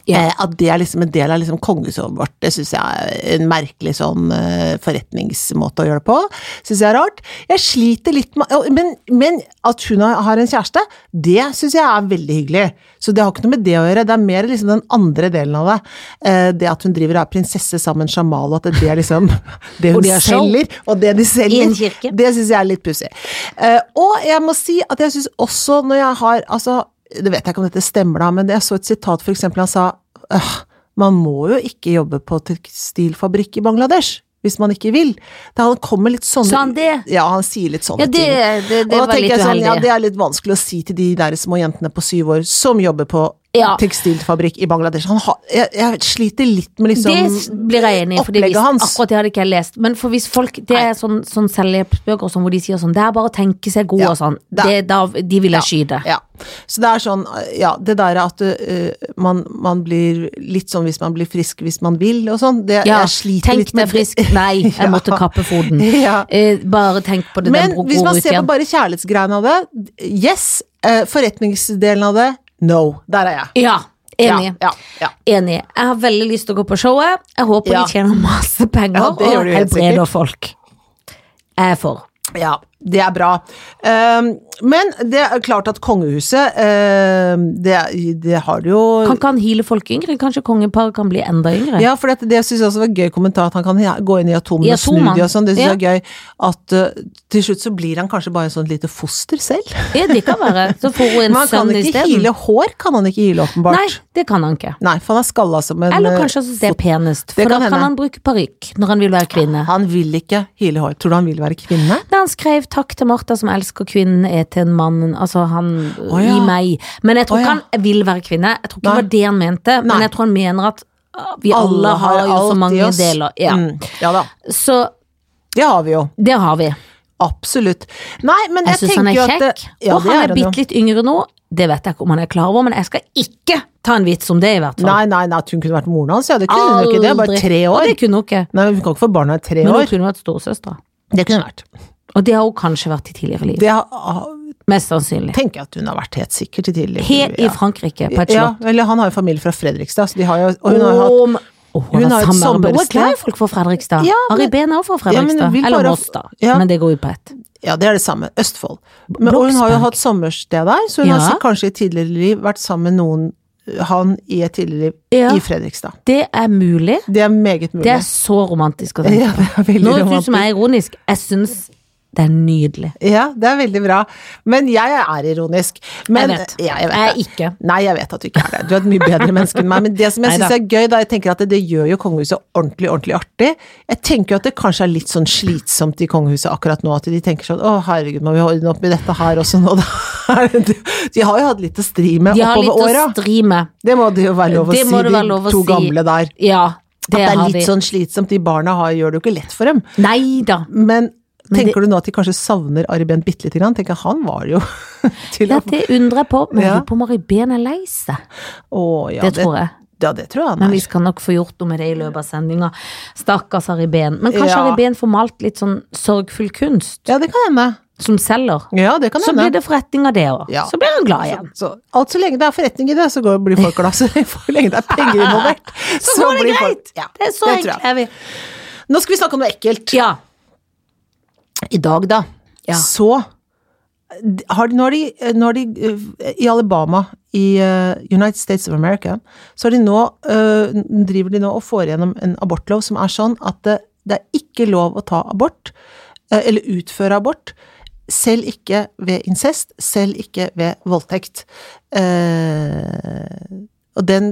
Speaker 1: Ja.
Speaker 2: Eh, At det er liksom en del av liksom kongesovet vårt, det syns jeg er en merkelig sånn eh, forretningsmåte å gjøre det på. Syns jeg er rart. Jeg sliter litt med og- Men, men at hun har har en kjæreste, det syns jeg er veldig hyggelig. Så det har ikke noe med det å gjøre, det er mer liksom den andre delen av det. Eh, Det at hun driver og er prinsesse sammen med sjamal, og at det er liksom det
Speaker 1: Og
Speaker 2: hun
Speaker 1: de har show.
Speaker 2: selger, og det de
Speaker 1: I
Speaker 2: selger.
Speaker 1: en kirke.
Speaker 2: Det syns jeg er litt pussig. Eh, og jeg må si at jeg syns også når jeg har Altså, det vet jeg ikke om dette stemmer, da, men jeg så et sitat for eksempel han sa «Åh, man må jo ikke jobbe på tekstilfabrikk i Bangladesh hvis man ikke vil. Da han kommer litt sånne
Speaker 1: Sa han det?
Speaker 2: Ja, han sier litt sånne
Speaker 1: Ja, det,
Speaker 2: ting.
Speaker 1: det, det
Speaker 2: og da
Speaker 1: var
Speaker 2: tenker
Speaker 1: litt
Speaker 2: jeg sånn,
Speaker 1: uheldig.
Speaker 2: ja, det er litt vanskelig å si til de der små jentene på syv år som jobber på
Speaker 1: Ja.
Speaker 2: tekstilfabrikk i Bangladesh. Han har, jeg, jeg sliter litt med liksom
Speaker 1: det blir jeg enig i, for
Speaker 2: opplegget hans.
Speaker 1: akkurat det hadde ikke jeg lest. Men for hvis folk, det er sånn, sånn selvhjelpsbøker og sånn, hvor de sier sånn, det er bare å tenke seg god
Speaker 2: Ja,
Speaker 1: og sånn,
Speaker 2: det-
Speaker 1: det, da, de vil jeg skyte.
Speaker 2: ja. Så det er sånn, ja, det der at øh, man, man blir litt sånn hvis man blir frisk hvis man vil og sånn, det
Speaker 1: Ja,
Speaker 2: jeg sliter
Speaker 1: tenk
Speaker 2: litt med
Speaker 1: deg frisk, nei, jeg
Speaker 2: Ja.
Speaker 1: måtte kappe foten.
Speaker 2: Ja.
Speaker 1: Eh, bare tenk på det,
Speaker 2: Men
Speaker 1: den bro-
Speaker 2: hvis
Speaker 1: går
Speaker 2: man
Speaker 1: ut
Speaker 2: ser på
Speaker 1: igjen.
Speaker 2: bare kjærlighetsgreiene av det, yes. eh, Forretningsdelen av det, no. Der er jeg.
Speaker 1: Ja, enig.
Speaker 2: Ja, ja, ja.
Speaker 1: Enig. Jeg har veldig lyst til å gå på showet. Jeg håper
Speaker 2: Ja.
Speaker 1: de tjener masse penger
Speaker 2: Ja, det gjør
Speaker 1: og
Speaker 2: de helt
Speaker 1: helbreder folk. Jeg er for.
Speaker 2: Ja, det er bra. Ehm, men det er klart at kongehuset ehm, det, det har det jo
Speaker 1: Kan ikke han hile folk yngre? Kanskje kongeparet kan bli enda yngre?
Speaker 2: Ja, for det, det syns jeg også var en gøy kommentar, at han kan he- gå inn i atomene
Speaker 1: I
Speaker 2: og snu
Speaker 1: atomene.
Speaker 2: de og sånn. Det syns
Speaker 1: Ja.
Speaker 2: jeg er gøy. At eh, til slutt så blir han kanskje bare et sånt lite foster selv.
Speaker 1: Ja, det kan være. Så får hun
Speaker 2: Men
Speaker 1: en
Speaker 2: han kan
Speaker 1: sønn
Speaker 2: ikke
Speaker 1: isteden.
Speaker 2: hile hår, kan han ikke hile, åpenbart.
Speaker 1: Nei, det kan han ikke.
Speaker 2: Nei, for han er skalla som en
Speaker 1: Eller
Speaker 2: eh,
Speaker 1: kanskje han synes det er penest,
Speaker 2: Det
Speaker 1: for
Speaker 2: kan
Speaker 1: da
Speaker 2: hende.
Speaker 1: kan han bruke parykk når han vil være kvinne.
Speaker 2: Han vil ikke hile hår. Tror du han vil være kvinne?
Speaker 1: Da han skrev 'Takk til Martha som elsker kvinnen er til en mann', altså han
Speaker 2: Å ja.
Speaker 1: i meg. Men jeg tror
Speaker 2: Å
Speaker 1: ikke
Speaker 2: ja.
Speaker 1: han vil være kvinne, jeg tror ikke det
Speaker 2: Nei.
Speaker 1: var det han mente,
Speaker 2: Nei.
Speaker 1: men jeg tror han mener at ah, vi alle, har, jo
Speaker 2: alt
Speaker 1: så
Speaker 2: i
Speaker 1: mange
Speaker 2: oss.
Speaker 1: deler. Ja.
Speaker 2: Mm, ja da.
Speaker 1: Så
Speaker 2: Det har vi jo.
Speaker 1: det har vi.
Speaker 2: Absolutt. Nei, men
Speaker 1: Jeg
Speaker 2: jeg,
Speaker 1: syns han
Speaker 2: tenker
Speaker 1: er
Speaker 2: jo at
Speaker 1: kjekk,
Speaker 2: det- Ja,
Speaker 1: og
Speaker 2: det
Speaker 1: han er
Speaker 2: jo.
Speaker 1: bitte litt yngre nå. Det vet jeg ikke om han er klar over, men jeg skal ikke ta en vits om det, i hvert fall.
Speaker 2: Nei, nei, nei, at hun kunne vært moren hans, ja. Det kunne hun jo ikke. Det er bare
Speaker 1: sånn. Aldri.
Speaker 2: tre
Speaker 1: Ja,
Speaker 2: år.
Speaker 1: Det kunne hun ikke.
Speaker 2: Nei, Hun kan ikke få barna i tre
Speaker 1: Men hun
Speaker 2: år.
Speaker 1: kunne vært storesøster.
Speaker 2: Det kunne hun vært.
Speaker 1: Og det har hun kanskje vært i tidligere liv.
Speaker 2: Det har-
Speaker 1: Mest sannsynlig.
Speaker 2: tenker jeg at hun har vært helt sikkert i tidligere
Speaker 1: Helt i
Speaker 2: ja.
Speaker 1: Frankrike, på et
Speaker 2: ja,
Speaker 1: slott.
Speaker 2: eller han har jo familie fra Fredrikstad, så de har jo Og hun har jo hatt
Speaker 1: Om- Å, hun,
Speaker 2: hun
Speaker 1: har
Speaker 2: har et
Speaker 1: et sommersted. Hun er
Speaker 2: sommersted.
Speaker 1: glad i folk fra Fredrikstad.
Speaker 2: Ja,
Speaker 1: Ari
Speaker 2: men-
Speaker 1: Behn er også fra
Speaker 2: Ja, men
Speaker 1: Fredrikstad.
Speaker 2: vil
Speaker 1: Eller
Speaker 2: bare-
Speaker 1: Moss, da.
Speaker 2: Ja.
Speaker 1: Men det går jo på ett.
Speaker 2: Ja, det er det samme. Østfold. Men, og hun har jo
Speaker 1: Bloksberg.
Speaker 2: hatt sommersted der, så hun har
Speaker 1: Ja.
Speaker 2: sikkert kanskje i tidligere liv vært sammen med noen han i et tidligere liv
Speaker 1: Ja.
Speaker 2: i Fredrikstad.
Speaker 1: Det er mulig.
Speaker 2: Det er meget mulig.
Speaker 1: Det er så romantisk å tenke
Speaker 2: ja, det er veldig
Speaker 1: Nå høres det ut
Speaker 2: romantisk.
Speaker 1: som jeg er ironisk. Jeg syns det er nydelig.
Speaker 2: Ja, det er veldig bra. Men jeg er ironisk. Men,
Speaker 1: jeg vet.
Speaker 2: Ja, jeg vet
Speaker 1: jeg
Speaker 2: det.
Speaker 1: er ikke.
Speaker 2: Nei, jeg vet at du ikke er det. Du er et mye bedre menneske enn meg. Men det som jeg
Speaker 1: Neida.
Speaker 2: syns er gøy, da jeg tenker at det, det gjør jo kongehuset ordentlig, ordentlig artig. Jeg tenker jo at det kanskje er litt sånn slitsomt i kongehuset akkurat nå, at de tenker sånn å herregud, må vi ordne opp i dette her også nå, da? Er det- De har jo hatt litt å stri med
Speaker 1: De har litt å
Speaker 2: oppover åra.
Speaker 1: stri med.
Speaker 2: Det må det jo være lov å
Speaker 1: Det
Speaker 2: si,
Speaker 1: må det være
Speaker 2: de
Speaker 1: lov å
Speaker 2: to
Speaker 1: si.
Speaker 2: gamle der.
Speaker 1: Ja,
Speaker 2: At
Speaker 1: det
Speaker 2: det er
Speaker 1: har
Speaker 2: litt
Speaker 1: de.
Speaker 2: sånn slitsomt. De barna har, gjør det jo ikke lett for dem.
Speaker 1: Nei da.
Speaker 2: Men
Speaker 1: Men det-
Speaker 2: tenker du nå at de kanskje savner Ari Behn bitte lite grann? Tenker jeg, han var jo til
Speaker 1: Ja,
Speaker 2: å
Speaker 1: det undrer jeg på. Men
Speaker 2: Ja.
Speaker 1: lurer på om Mari Behn er lei seg.
Speaker 2: Å, ja,
Speaker 1: Det tror jeg.
Speaker 2: Ja, det tror jeg han
Speaker 1: Men vi
Speaker 2: er.
Speaker 1: skal nok få gjort noe med det i løpet av sendinga. Stakkars Ari Behn. Men kanskje
Speaker 2: Ja.
Speaker 1: Ari Behn får malt litt sånn sorgfull kunst
Speaker 2: Ja, det kan hende.
Speaker 1: som selger.
Speaker 2: Ja, det kan
Speaker 1: Så
Speaker 2: hende.
Speaker 1: blir det forretning av det òg.
Speaker 2: Ja.
Speaker 1: Så blir han glad igjen.
Speaker 2: Så, så, alt så lenge det er forretning i det, så går, blir folk glad. Så lenge det er penger involvert,
Speaker 1: Så, går det
Speaker 2: blir folk-
Speaker 1: greit!
Speaker 2: Ja,
Speaker 1: det er så
Speaker 2: det tror
Speaker 1: enkelt
Speaker 2: jeg.
Speaker 1: er vi.
Speaker 2: Nå skal vi snakke om noe ekkelt.
Speaker 1: Ja.
Speaker 2: I dag, da,
Speaker 1: Ja.
Speaker 2: så har de, nå, har de, nå har de eh, I Alabama, i eh, United States of America, så har de nå, eh, driver de nå og får igjennom en abortlov som er sånn at det, det er ikke lov å ta abort, eh, eller utføre abort, selv ikke ved incest, selv ikke ved voldtekt. Eh, og den,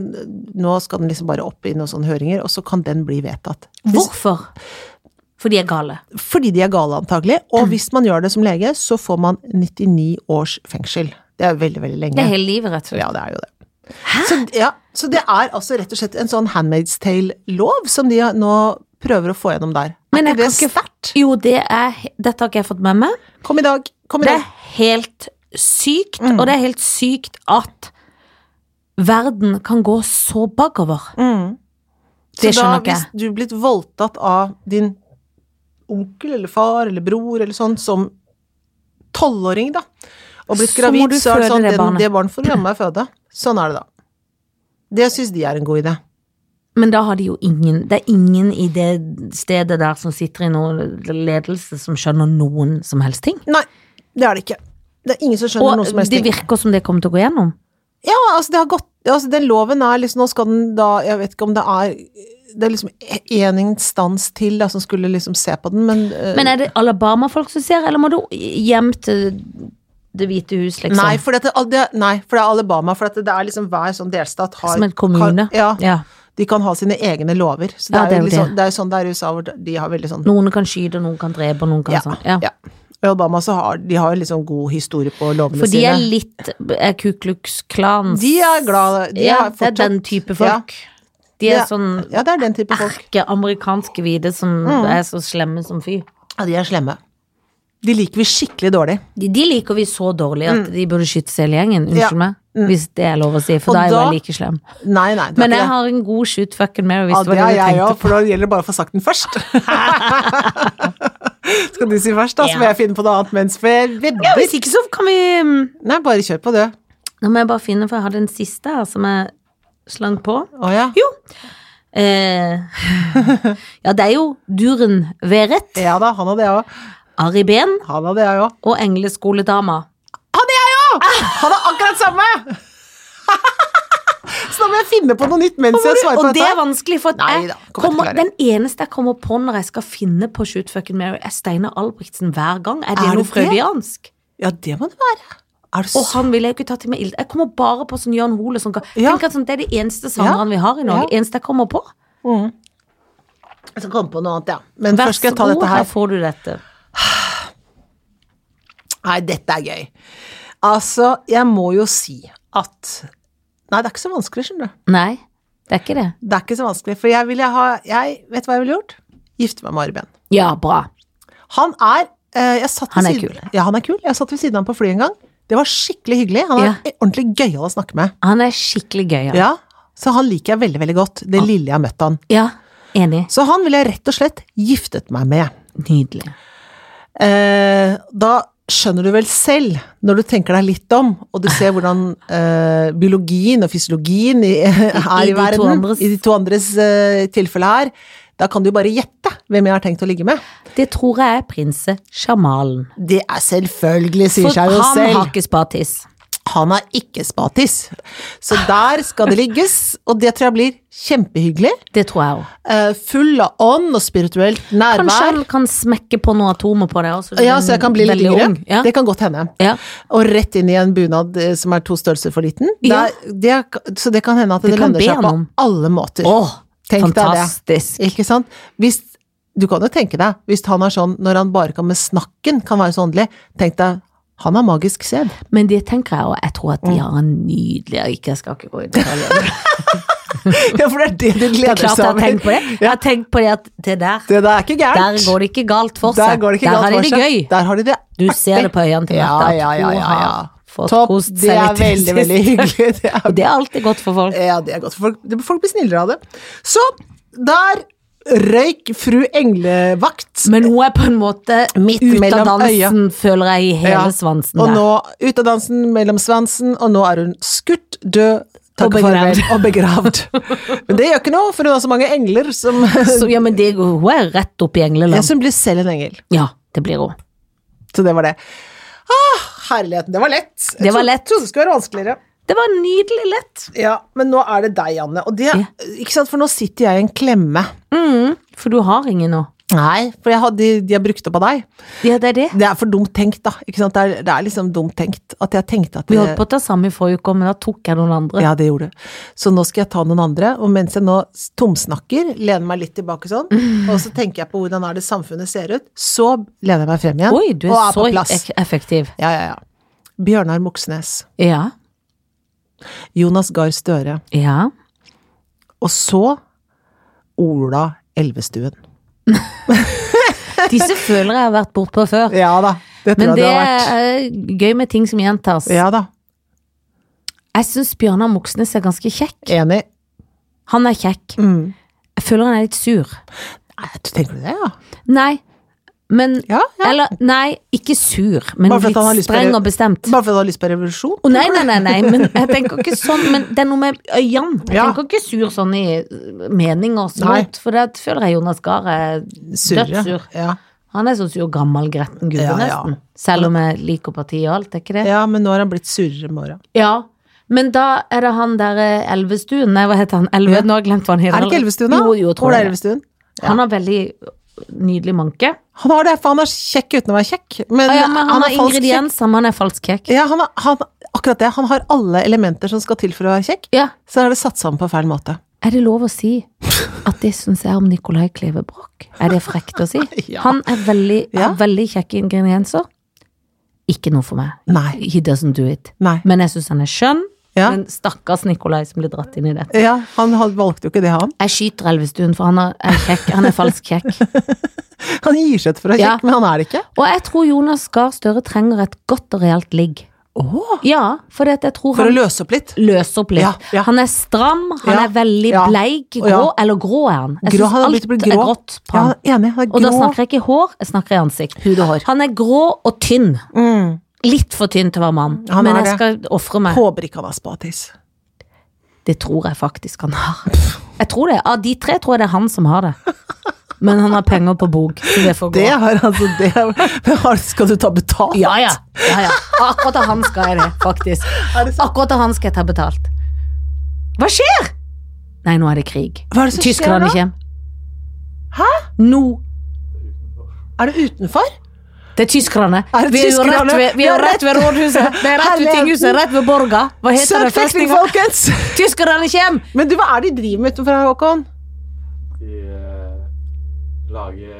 Speaker 2: nå skal den liksom bare opp i noen sånne høringer, og så kan den bli vedtatt.
Speaker 1: Hvorfor? For de er gale.
Speaker 2: Fordi de er gale, antagelig.
Speaker 1: Mm.
Speaker 2: Og hvis man gjør det som lege, så får man 99 års fengsel. Det er veldig, veldig lenge.
Speaker 1: Det er hele livet, rett og slett.
Speaker 2: Ja, det er jo det. Så, ja, så det er altså rett og slett en sånn Handmaid's Tale-lov som de nå prøver å få gjennom der. Er
Speaker 1: Men jeg
Speaker 2: ikke det
Speaker 1: kan ikke-
Speaker 2: sterkt?
Speaker 1: Jo, det er he- Dette har ikke jeg fått med meg.
Speaker 2: Kom i dag. Kom i
Speaker 1: Det
Speaker 2: dag.
Speaker 1: er helt sykt,
Speaker 2: Mm.
Speaker 1: og det er helt sykt at verden kan gå så bakover.
Speaker 2: Mm.
Speaker 1: Det
Speaker 2: så da,
Speaker 1: skjønner ikke
Speaker 2: hvis
Speaker 1: jeg.
Speaker 2: du er blitt voldtatt av din onkel eller far eller bror eller sånn som tolvåring, da, og blitt
Speaker 1: Så må
Speaker 2: gravid,
Speaker 1: du
Speaker 2: så er det
Speaker 1: føde
Speaker 2: sånn
Speaker 1: det barnet.
Speaker 2: Det barnet får du hjemme meg føde. Sånn er det, da. Det syns de er en god idé.
Speaker 1: Men da har de jo ingen Det er ingen i det stedet der som sitter i noen ledelse som skjønner noen som helst ting.
Speaker 2: Nei, det er det ikke. Det er ingen som skjønner
Speaker 1: Og
Speaker 2: noe som helst.
Speaker 1: det
Speaker 2: ting.
Speaker 1: virker som det kommer til å gå gjennom.
Speaker 2: Ja, altså, det har gått altså, Den loven er liksom Nå skal den da Jeg vet ikke om det er Det er liksom én instans til da, som skulle liksom se på den, men, eh,
Speaker 1: Men er det Alabama-folk som ser, eller må du hjem til Det hvite hus, liksom?
Speaker 2: Nei, for det, det, nei, for det er Alabama. For at det, det er liksom hver sånn delstat har
Speaker 1: som en kommune?
Speaker 2: Har, ja,
Speaker 1: ja.
Speaker 2: De kan ha sine egne lover. Så det,
Speaker 1: Ja, det er
Speaker 2: er, jo
Speaker 1: jo
Speaker 2: liksom, det er jo sånn det er i USA, hvor de har veldig sånn
Speaker 1: Noen kan skyte, og noen kan drepe, og noen kan
Speaker 2: Ja.
Speaker 1: sånn. Ja.
Speaker 2: ja. Og i Alabama så har de har liksom god historie på lovene
Speaker 1: For de
Speaker 2: sine.
Speaker 1: er litt er Ku Klux Klans
Speaker 2: De er glad- de
Speaker 1: ja,
Speaker 2: har
Speaker 1: det er
Speaker 2: fortsatt-
Speaker 1: den type folk. De er
Speaker 2: Ja.
Speaker 1: sånn
Speaker 2: Ja, det er den type folk.
Speaker 1: erke amerikanske hvite som
Speaker 2: Mm.
Speaker 1: er så slemme som fy.
Speaker 2: Ja, de er slemme. De liker vi skikkelig dårlig.
Speaker 1: De, de liker vi så dårlig at de burde skytes hele gjengen,
Speaker 2: Mm. Ja. Mm.
Speaker 1: unnskyld meg. Hvis det er lov å si, for
Speaker 2: Og
Speaker 1: da er jo
Speaker 2: da-
Speaker 1: jeg like slem.
Speaker 2: Nei, nei, det er
Speaker 1: Men
Speaker 2: ikke
Speaker 1: jeg
Speaker 2: det.
Speaker 1: har en god shoot fucking Mary, hvis
Speaker 2: Ja,
Speaker 1: det
Speaker 2: det
Speaker 1: var
Speaker 2: har
Speaker 1: det du
Speaker 2: jeg
Speaker 1: tenkte
Speaker 2: òg, for da gjelder det bare å få sagt den først. Skal du si først, da,
Speaker 1: Ja.
Speaker 2: så må jeg finne på noe annet mens vi
Speaker 1: Ja,
Speaker 2: vibber.
Speaker 1: hvis ikke så kan vi
Speaker 2: Nei, bare kjør på, du.
Speaker 1: Nå må jeg bare finne, for jeg hadde en siste her som jeg slang på.
Speaker 2: Å ja.
Speaker 1: Jo. Eh, ja, det er jo Duren Verrett,
Speaker 2: Ja da, han hadde jeg òg.
Speaker 1: Ari Behn
Speaker 2: Han hadde jeg òg.
Speaker 1: og engleskoledama.
Speaker 2: Han er akkurat samme! Så da må jeg finne på noe nytt mens jeg svarer
Speaker 1: Og
Speaker 2: på
Speaker 1: det er
Speaker 2: dette.
Speaker 1: vanskelig, for at
Speaker 2: Nei
Speaker 1: jeg
Speaker 2: da, kommer
Speaker 1: kommer,
Speaker 2: jeg til å
Speaker 1: den eneste jeg kommer på når jeg skal finne på Shoot Fucking Mary, er Steinar Albrigtsen hver gang. Er det
Speaker 2: Er det
Speaker 1: noe freudiansk?
Speaker 2: Ja, det må det være. Er det
Speaker 1: Og
Speaker 2: så
Speaker 1: han ville jeg jo ikke tatt til meg ild. Jeg kommer bare på sånn Jan Hole som kan
Speaker 2: Ja.
Speaker 1: Tenk at sånn, det er de eneste sangerne vi har i Norge.
Speaker 2: Ja.
Speaker 1: Eneste jeg kommer på.
Speaker 2: Jeg skal komme på noe annet, ja. Men
Speaker 1: Vær
Speaker 2: først skal
Speaker 1: så
Speaker 2: jeg ta
Speaker 1: god,
Speaker 2: dette
Speaker 1: her
Speaker 2: her.
Speaker 1: får du dette.
Speaker 2: Nei, dette er gøy. Altså, jeg må jo si at Nei, det er ikke så vanskelig, skjønner du.
Speaker 1: Nei, det er ikke det.
Speaker 2: Det er ikke så vanskelig, for jeg ville ha jeg, Vet du hva jeg ville gjort? Gifte meg med Ari Behn.
Speaker 1: Ja, bra.
Speaker 2: Han er eh, jeg satt ved
Speaker 1: Han er
Speaker 2: siden,
Speaker 1: kul.
Speaker 2: Ja, han er kul. Jeg satt ved siden av ham på flyet en gang. Det var skikkelig hyggelig. Han er ordentlig gøyal å snakke med.
Speaker 1: Han er skikkelig gøy. Ja.
Speaker 2: Ja, Så han liker jeg veldig, veldig godt. Det lille jeg har møtt han.
Speaker 1: ja, enig.
Speaker 2: Så han ville jeg rett og slett giftet meg med.
Speaker 1: Nydelig.
Speaker 2: Eh, da skjønner du vel selv, når du tenker deg litt om, og du ser hvordan eh, biologien og fysiologien i,
Speaker 1: i
Speaker 2: er i,
Speaker 1: de to
Speaker 2: verden,
Speaker 1: andres-
Speaker 2: i de to andres eh, tilfelle her, da kan du bare gjette hvem jeg har tenkt å ligge med.
Speaker 1: Det tror jeg er prinse Sjamalen.
Speaker 2: Det er selvfølgelig, sier
Speaker 1: For
Speaker 2: seg jo
Speaker 1: han
Speaker 2: selv.
Speaker 1: har ikke spartiss.
Speaker 2: Han har ikke spatiss. Så der skal det ligges, og det tror jeg blir kjempehyggelig.
Speaker 1: Det tror jeg òg.
Speaker 2: Eh, Full av ånd og spirituelt
Speaker 1: Kanskje
Speaker 2: nærvær.
Speaker 1: han kan smekke på noen atomer på deg også.
Speaker 2: Ja, så jeg kan bli litt
Speaker 1: Veldig
Speaker 2: yngre.
Speaker 1: ung. Ja.
Speaker 2: Det kan godt hende.
Speaker 1: Ja.
Speaker 2: Og rett inn i en bunad eh, som er to størrelser for liten.
Speaker 1: Ja.
Speaker 2: Det er- det, så det kan hende at det,
Speaker 1: kan
Speaker 2: lønner
Speaker 1: be
Speaker 2: seg
Speaker 1: han
Speaker 2: på
Speaker 1: om.
Speaker 2: alle måter.
Speaker 1: Åh,
Speaker 2: Tenk deg det.
Speaker 1: fantastisk.
Speaker 2: Ikke sant? Hvis, du kan jo tenke deg, hvis han er sånn når han bare kan med snakken kan være så åndelig, tenk deg, han har magisk sæd.
Speaker 1: Men det tenker jeg òg. Jeg tror
Speaker 2: Mm.
Speaker 1: at de har en nydelig Ikke, jeg skal ikke gå i detalj.
Speaker 2: Ja, for det er det du
Speaker 1: Det er
Speaker 2: gleder
Speaker 1: klart jeg
Speaker 2: seg
Speaker 1: har
Speaker 2: over.
Speaker 1: tenkt på det. Jeg har tenkt på det at det der,
Speaker 2: Det der er ikke gærent.
Speaker 1: der går det ikke galt for seg.
Speaker 2: Der går det ikke galt
Speaker 1: har
Speaker 2: for
Speaker 1: de
Speaker 2: seg.
Speaker 1: det gøy.
Speaker 2: Der har de det
Speaker 1: Du ser det på øynene til
Speaker 2: Ja,
Speaker 1: Marte at
Speaker 2: ja, ja,
Speaker 1: hun
Speaker 2: ja,
Speaker 1: har
Speaker 2: ja.
Speaker 1: fått
Speaker 2: Topp.
Speaker 1: kost seg
Speaker 2: Det er
Speaker 1: litt i det
Speaker 2: veldig, veldig
Speaker 1: siste.
Speaker 2: hyggelig. Det
Speaker 1: Og
Speaker 2: er,
Speaker 1: det er alltid godt for folk.
Speaker 2: ja, det er godt. for Folk, det- folk blir snillere av det. Så der røyk fru Englevakt.
Speaker 1: Men hun er på en måte
Speaker 2: Midt
Speaker 1: ut av
Speaker 2: mellom
Speaker 1: dansen, føler jeg, i hele
Speaker 2: Ja.
Speaker 1: svansen
Speaker 2: Og
Speaker 1: der.
Speaker 2: nå ut av dansen, mellom svansen, og nå er hun skutt, død, takk
Speaker 1: Og
Speaker 2: og farvel,
Speaker 1: begravd.
Speaker 2: og begravd. Men det gjør ikke noe, for hun har så mange engler som
Speaker 1: Så, ja, men det, hun er rett opp i
Speaker 2: Jeg
Speaker 1: engleland.
Speaker 2: som blir selv en engel.
Speaker 1: Ja, det blir hun.
Speaker 2: Så det var det. Ah, herligheten. Det var lett. Jeg
Speaker 1: Det var
Speaker 2: tro-
Speaker 1: lett.
Speaker 2: Trodde det skulle være vanskeligere.
Speaker 1: Det var nydelig lett.
Speaker 2: Ja, men nå er det deg, Anne. Og det, ikke sant, for nå sitter jeg i en klemme.
Speaker 1: Mm, for du har ingen nå.
Speaker 2: Nei, for jeg har, de, de har brukt opp av deg.
Speaker 1: Ja, det er det.
Speaker 2: Det er for dumt tenkt, da. Ikke sant? Det, er, det er liksom dumt tenkt. At jeg tenkte at
Speaker 1: Vi
Speaker 2: det,
Speaker 1: holdt på å ta samme i forrige uke, men da tok jeg noen andre.
Speaker 2: Ja, det gjorde du. Så nå skal jeg ta noen andre. Og mens jeg nå s- tomsnakker, lener meg litt tilbake sånn, og så tenker jeg på hvordan er det samfunnet ser ut, så lener jeg meg frem igjen.
Speaker 1: Oi, du er,
Speaker 2: og er
Speaker 1: så
Speaker 2: på plass.
Speaker 1: ek- effektiv.
Speaker 2: Ja, ja, ja. Bjørnar Moxnes.
Speaker 1: Ja.
Speaker 2: Jonas Gahr Støre.
Speaker 1: Ja.
Speaker 2: Og så Ola Elvestuen.
Speaker 1: Disse føler jeg har vært bortpå før.
Speaker 2: Ja da. Det tror
Speaker 1: Men
Speaker 2: jeg
Speaker 1: det
Speaker 2: du har vært.
Speaker 1: er eh, gøy med ting som gjentas.
Speaker 2: Ja da.
Speaker 1: Jeg syns Bjørnar Moxnes er ganske kjekk.
Speaker 2: Enig.
Speaker 1: Han er kjekk.
Speaker 2: Mm.
Speaker 1: Jeg føler han er litt sur.
Speaker 2: Nei, du tenker du det, ja?
Speaker 1: Nei, men
Speaker 2: Ja, ja.
Speaker 1: Eller, nei, ikke sur, men
Speaker 2: Bare for at han har
Speaker 1: litt
Speaker 2: lyst på det.
Speaker 1: streng og bestemt.
Speaker 2: Bare fordi du har lyst på revolusjon?
Speaker 1: Å, nei, nei, nei, nei, men jeg tenker ikke sånn, men det er noe med øynene. Jeg
Speaker 2: Ja.
Speaker 1: tenker ikke sur sånn i mening og
Speaker 2: Nei.
Speaker 1: sånt, for det føler jeg Jonas Gahr er dødssur.
Speaker 2: Ja.
Speaker 1: Han er så sur gammel gretten gubbe,
Speaker 2: Ja, ja.
Speaker 1: nesten. Selv om jeg liker partiet og alt, er ikke det?
Speaker 2: ja, men nå har han blitt surere med åra.
Speaker 1: Ja. Men da er det han der eh, Elvestuen, nei, hva heter han? Elve,
Speaker 2: Ja.
Speaker 1: Nå har jeg glemt hva han heter.
Speaker 2: Er det ikke Elvestuen, da?
Speaker 1: Jo, jo, jeg tror
Speaker 2: Ola
Speaker 1: det.
Speaker 2: Elvestuen. Ja.
Speaker 1: Han har veldig nydelig manke.
Speaker 2: Han har det, for han er kjekk uten å være kjekk. Men,
Speaker 1: Ah, ja, men han
Speaker 2: er
Speaker 1: har
Speaker 2: falsk kjekk.
Speaker 1: ingredienser, men han er falsk kjekk.
Speaker 2: Ja, han, er- han, akkurat det. Han har alle elementer som skal til for å være kjekk.
Speaker 1: Ja.
Speaker 2: Så er det satt sammen på feil måte.
Speaker 1: Er det lov å si at det syns jeg om Nicolai Kleve Broch? Er det frekt å si?
Speaker 2: Ja.
Speaker 1: Han er veldig,
Speaker 2: Ja.
Speaker 1: har veldig kjekke ingredienser. Ikke noe for meg.
Speaker 2: Nei.
Speaker 1: He doesn't do it.
Speaker 2: Nei.
Speaker 1: Men jeg syns han er skjønn.
Speaker 2: Ja.
Speaker 1: Men stakkars Nicolai som blir dratt inn i dette.
Speaker 2: ja, han had- valgte jo ikke det, han.
Speaker 1: Jeg skyter Elvestuen, for han er, er kjekk. Han er falsk kjekk.
Speaker 2: Han gir seg ut for å være
Speaker 1: Ja.
Speaker 2: kjekk, men han er det ikke.
Speaker 1: Og jeg tror Jonas Gahr Støre trenger et godt og reelt ligg. Ja, for jeg tror
Speaker 2: For å
Speaker 1: han
Speaker 2: løse opp litt.
Speaker 1: løser opp litt.
Speaker 2: Ja, ja.
Speaker 1: Han er stram, han
Speaker 2: Ja,
Speaker 1: er veldig
Speaker 2: ja.
Speaker 1: bleik, grå,
Speaker 2: Ja.
Speaker 1: eller grå er han. Jeg
Speaker 2: Grå,
Speaker 1: synes
Speaker 2: han er
Speaker 1: alt
Speaker 2: blitt- blitt
Speaker 1: er
Speaker 2: grå.
Speaker 1: grått på
Speaker 2: Ja,
Speaker 1: han.
Speaker 2: enig. Han er
Speaker 1: Og da
Speaker 2: grå.
Speaker 1: snakker jeg ikke i hår, jeg snakker i ansikt.
Speaker 2: Hud og hår.
Speaker 1: Han er grå og tynn.
Speaker 2: Mm.
Speaker 1: Litt for tynn til å være mann,
Speaker 2: Han
Speaker 1: men
Speaker 2: er
Speaker 1: jeg skal ofre meg.
Speaker 2: Håper ikke han har spatis.
Speaker 1: Det tror jeg faktisk han har. Jeg tror det. Av de tre tror jeg det er han som har det. Men han har penger på bok, så det får gå.
Speaker 2: Det har altså det men har- Skal du ta betalt?
Speaker 1: Ja, ja. ja, ja. Akkurat av han skal jeg det, faktisk.
Speaker 2: Er det sant?
Speaker 1: Akkurat av han skal jeg ta betalt. Hva skjer? Nei, nå er det krig.
Speaker 2: Hva er det som
Speaker 1: Tyskland
Speaker 2: skjer da?
Speaker 1: kommer. Nå.
Speaker 2: Er det utenfor?
Speaker 1: Det er tyskerne.
Speaker 2: Er det
Speaker 1: vi er jo
Speaker 2: tyskerne?
Speaker 1: rett ved, vi er jo rett ved rådhuset. Det er rett ved
Speaker 2: Herligheten.
Speaker 1: tinghuset, rett ved borga. Hva heter
Speaker 2: Søk
Speaker 1: det?
Speaker 2: flyktning,
Speaker 1: Festninga?
Speaker 2: folkens!
Speaker 1: Tyskerne kommer!
Speaker 2: Men du, hva er det de driver med utenfor her, Håkon?
Speaker 3: De eh, lager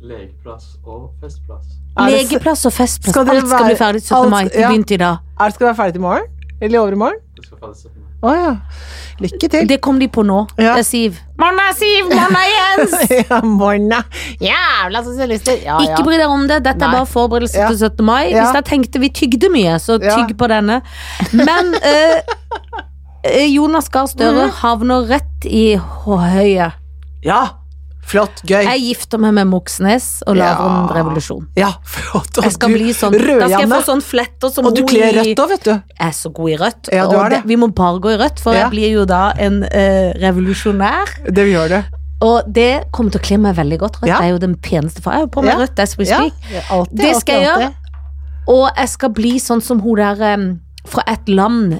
Speaker 3: lekeplass og festplass.
Speaker 2: Er det,
Speaker 1: Legeplass og festplass.
Speaker 2: Skal
Speaker 1: Alt
Speaker 2: dere
Speaker 1: skal bli
Speaker 2: være-
Speaker 1: ferdig 17.
Speaker 2: alt-
Speaker 1: mai. Det
Speaker 2: ja.
Speaker 1: begynte i dag.
Speaker 2: er det skal være ferdig til i morgen? Eller i overmorgen?
Speaker 3: Det skal fattes opp med.
Speaker 2: Å ja. Lykke til.
Speaker 1: Det kom de på nå.
Speaker 2: Ja.
Speaker 1: Det er Siv. Mann er Siv! Mann er Jens!
Speaker 2: ja, morgen, ja. Jævla sosialister. Ja,
Speaker 1: Ikke bry deg om det, dette
Speaker 2: Nei.
Speaker 1: er bare forberedelse
Speaker 2: Ja.
Speaker 1: til 17. mai.
Speaker 2: Ja.
Speaker 1: Hvis jeg tenkte vi tygde mye, så
Speaker 2: Ja.
Speaker 1: tygg på denne. Men eh, eh, Jonas Gahr Støre
Speaker 2: Mm.
Speaker 1: havner rett i høyet.
Speaker 2: Ja, flott, gøy.
Speaker 1: Jeg gifter meg med Moxnes og lager
Speaker 2: Ja.
Speaker 1: en revolusjon.
Speaker 2: Ja, flott. Og
Speaker 1: Jeg skal
Speaker 2: du,
Speaker 1: bli sånn, da skal jeg få
Speaker 2: Rødjanne.
Speaker 1: sånne fletter som
Speaker 2: Og du
Speaker 1: hun i-
Speaker 2: kler rødt òg, vet du.
Speaker 1: Jeg er så god i rødt.
Speaker 2: Ja, du
Speaker 1: og
Speaker 2: er det.
Speaker 1: Vi må bare gå i rødt, for
Speaker 2: Ja.
Speaker 1: jeg blir jo da en eh, revolusjonær.
Speaker 2: Det gjør det.
Speaker 1: Og det kommer til å kle meg veldig godt. Rødt
Speaker 2: Ja.
Speaker 1: er jo den peneste fargen. Jeg har jo på meg
Speaker 2: Ja.
Speaker 1: rødt as we
Speaker 2: Ja,
Speaker 1: speak.
Speaker 2: alltid,
Speaker 1: Det skal jeg
Speaker 2: alltid,
Speaker 1: Og jeg skal bli sånn som hun der em, fra et land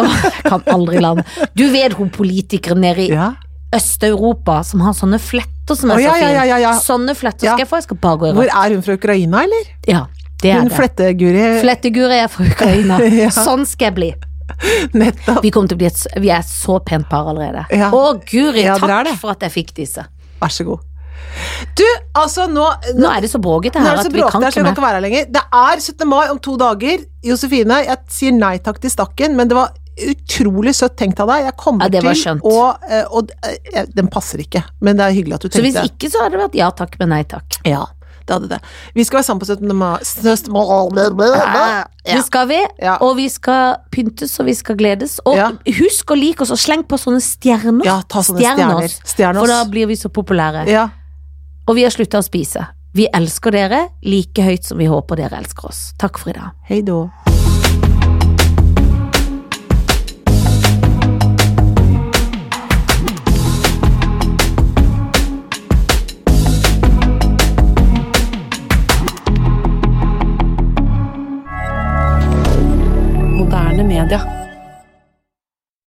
Speaker 1: Åh, Jeg kan aldri land. Du vet hun politikeren nede i
Speaker 2: alltid. Ja.
Speaker 1: Øst-Europa som har sånne fletter som er
Speaker 2: Å, ja,
Speaker 1: så
Speaker 2: ja,
Speaker 1: fine.
Speaker 2: ja, ja, ja.
Speaker 1: Sånne fletter
Speaker 2: Ja.
Speaker 1: skal jeg få. Jeg skal bare gå i
Speaker 2: Hvor
Speaker 1: rødt.
Speaker 2: er hun fra Ukraina, eller?
Speaker 1: Ja, det er
Speaker 2: Hun
Speaker 1: det.
Speaker 2: Flette-Guri.
Speaker 1: Fletteguri er fra Ukraina.
Speaker 2: Ja.
Speaker 1: Sånn skal jeg bli.
Speaker 2: Nettopp.
Speaker 1: Vi, kommer til å bli et, s- vi er et så pent par allerede.
Speaker 2: Ja.
Speaker 1: Å, guri,
Speaker 2: Ja, dere er
Speaker 1: takk
Speaker 2: det.
Speaker 1: for at jeg fikk disse.
Speaker 2: Vær så god. Du, altså nå
Speaker 1: Nå er det så bråkete
Speaker 2: Nå
Speaker 1: her
Speaker 2: er det
Speaker 1: at
Speaker 2: så
Speaker 1: vi
Speaker 2: bråkete
Speaker 1: kan ikke
Speaker 2: her, så jeg kan
Speaker 1: mer.
Speaker 2: ikke være her lenger. Det er 17. mai om to dager. Josefine, jeg sier nei takk til stakken, men det var utrolig søtt tenkt av deg. Jeg kommer
Speaker 1: Ja, det var
Speaker 2: til
Speaker 1: skjønt.
Speaker 2: å eh, Og eh, jeg- den passer ikke, men det er hyggelig at du
Speaker 1: Så hvis
Speaker 2: tenkte.
Speaker 1: ikke, så hadde det vært ja takk, men nei takk.
Speaker 2: Ja, det hadde det. Vi skal være sammen på 17. mai. 17. mai.
Speaker 1: Det skal vi,
Speaker 2: Ja.
Speaker 1: og vi skal pyntes og vi skal gledes. Og
Speaker 2: Ja.
Speaker 1: husk å like oss og sleng på sånne stjerner.
Speaker 2: Ja, ta sånne stjerner.
Speaker 1: oss,
Speaker 2: Stjerne
Speaker 1: For da
Speaker 2: oss.
Speaker 1: blir vi så populære.
Speaker 2: Ja.
Speaker 1: Og vi har slutta å spise. Vi elsker dere like høyt som vi håper dere elsker oss. Takk for i dag.
Speaker 2: Hei då.
Speaker 4: moderne media.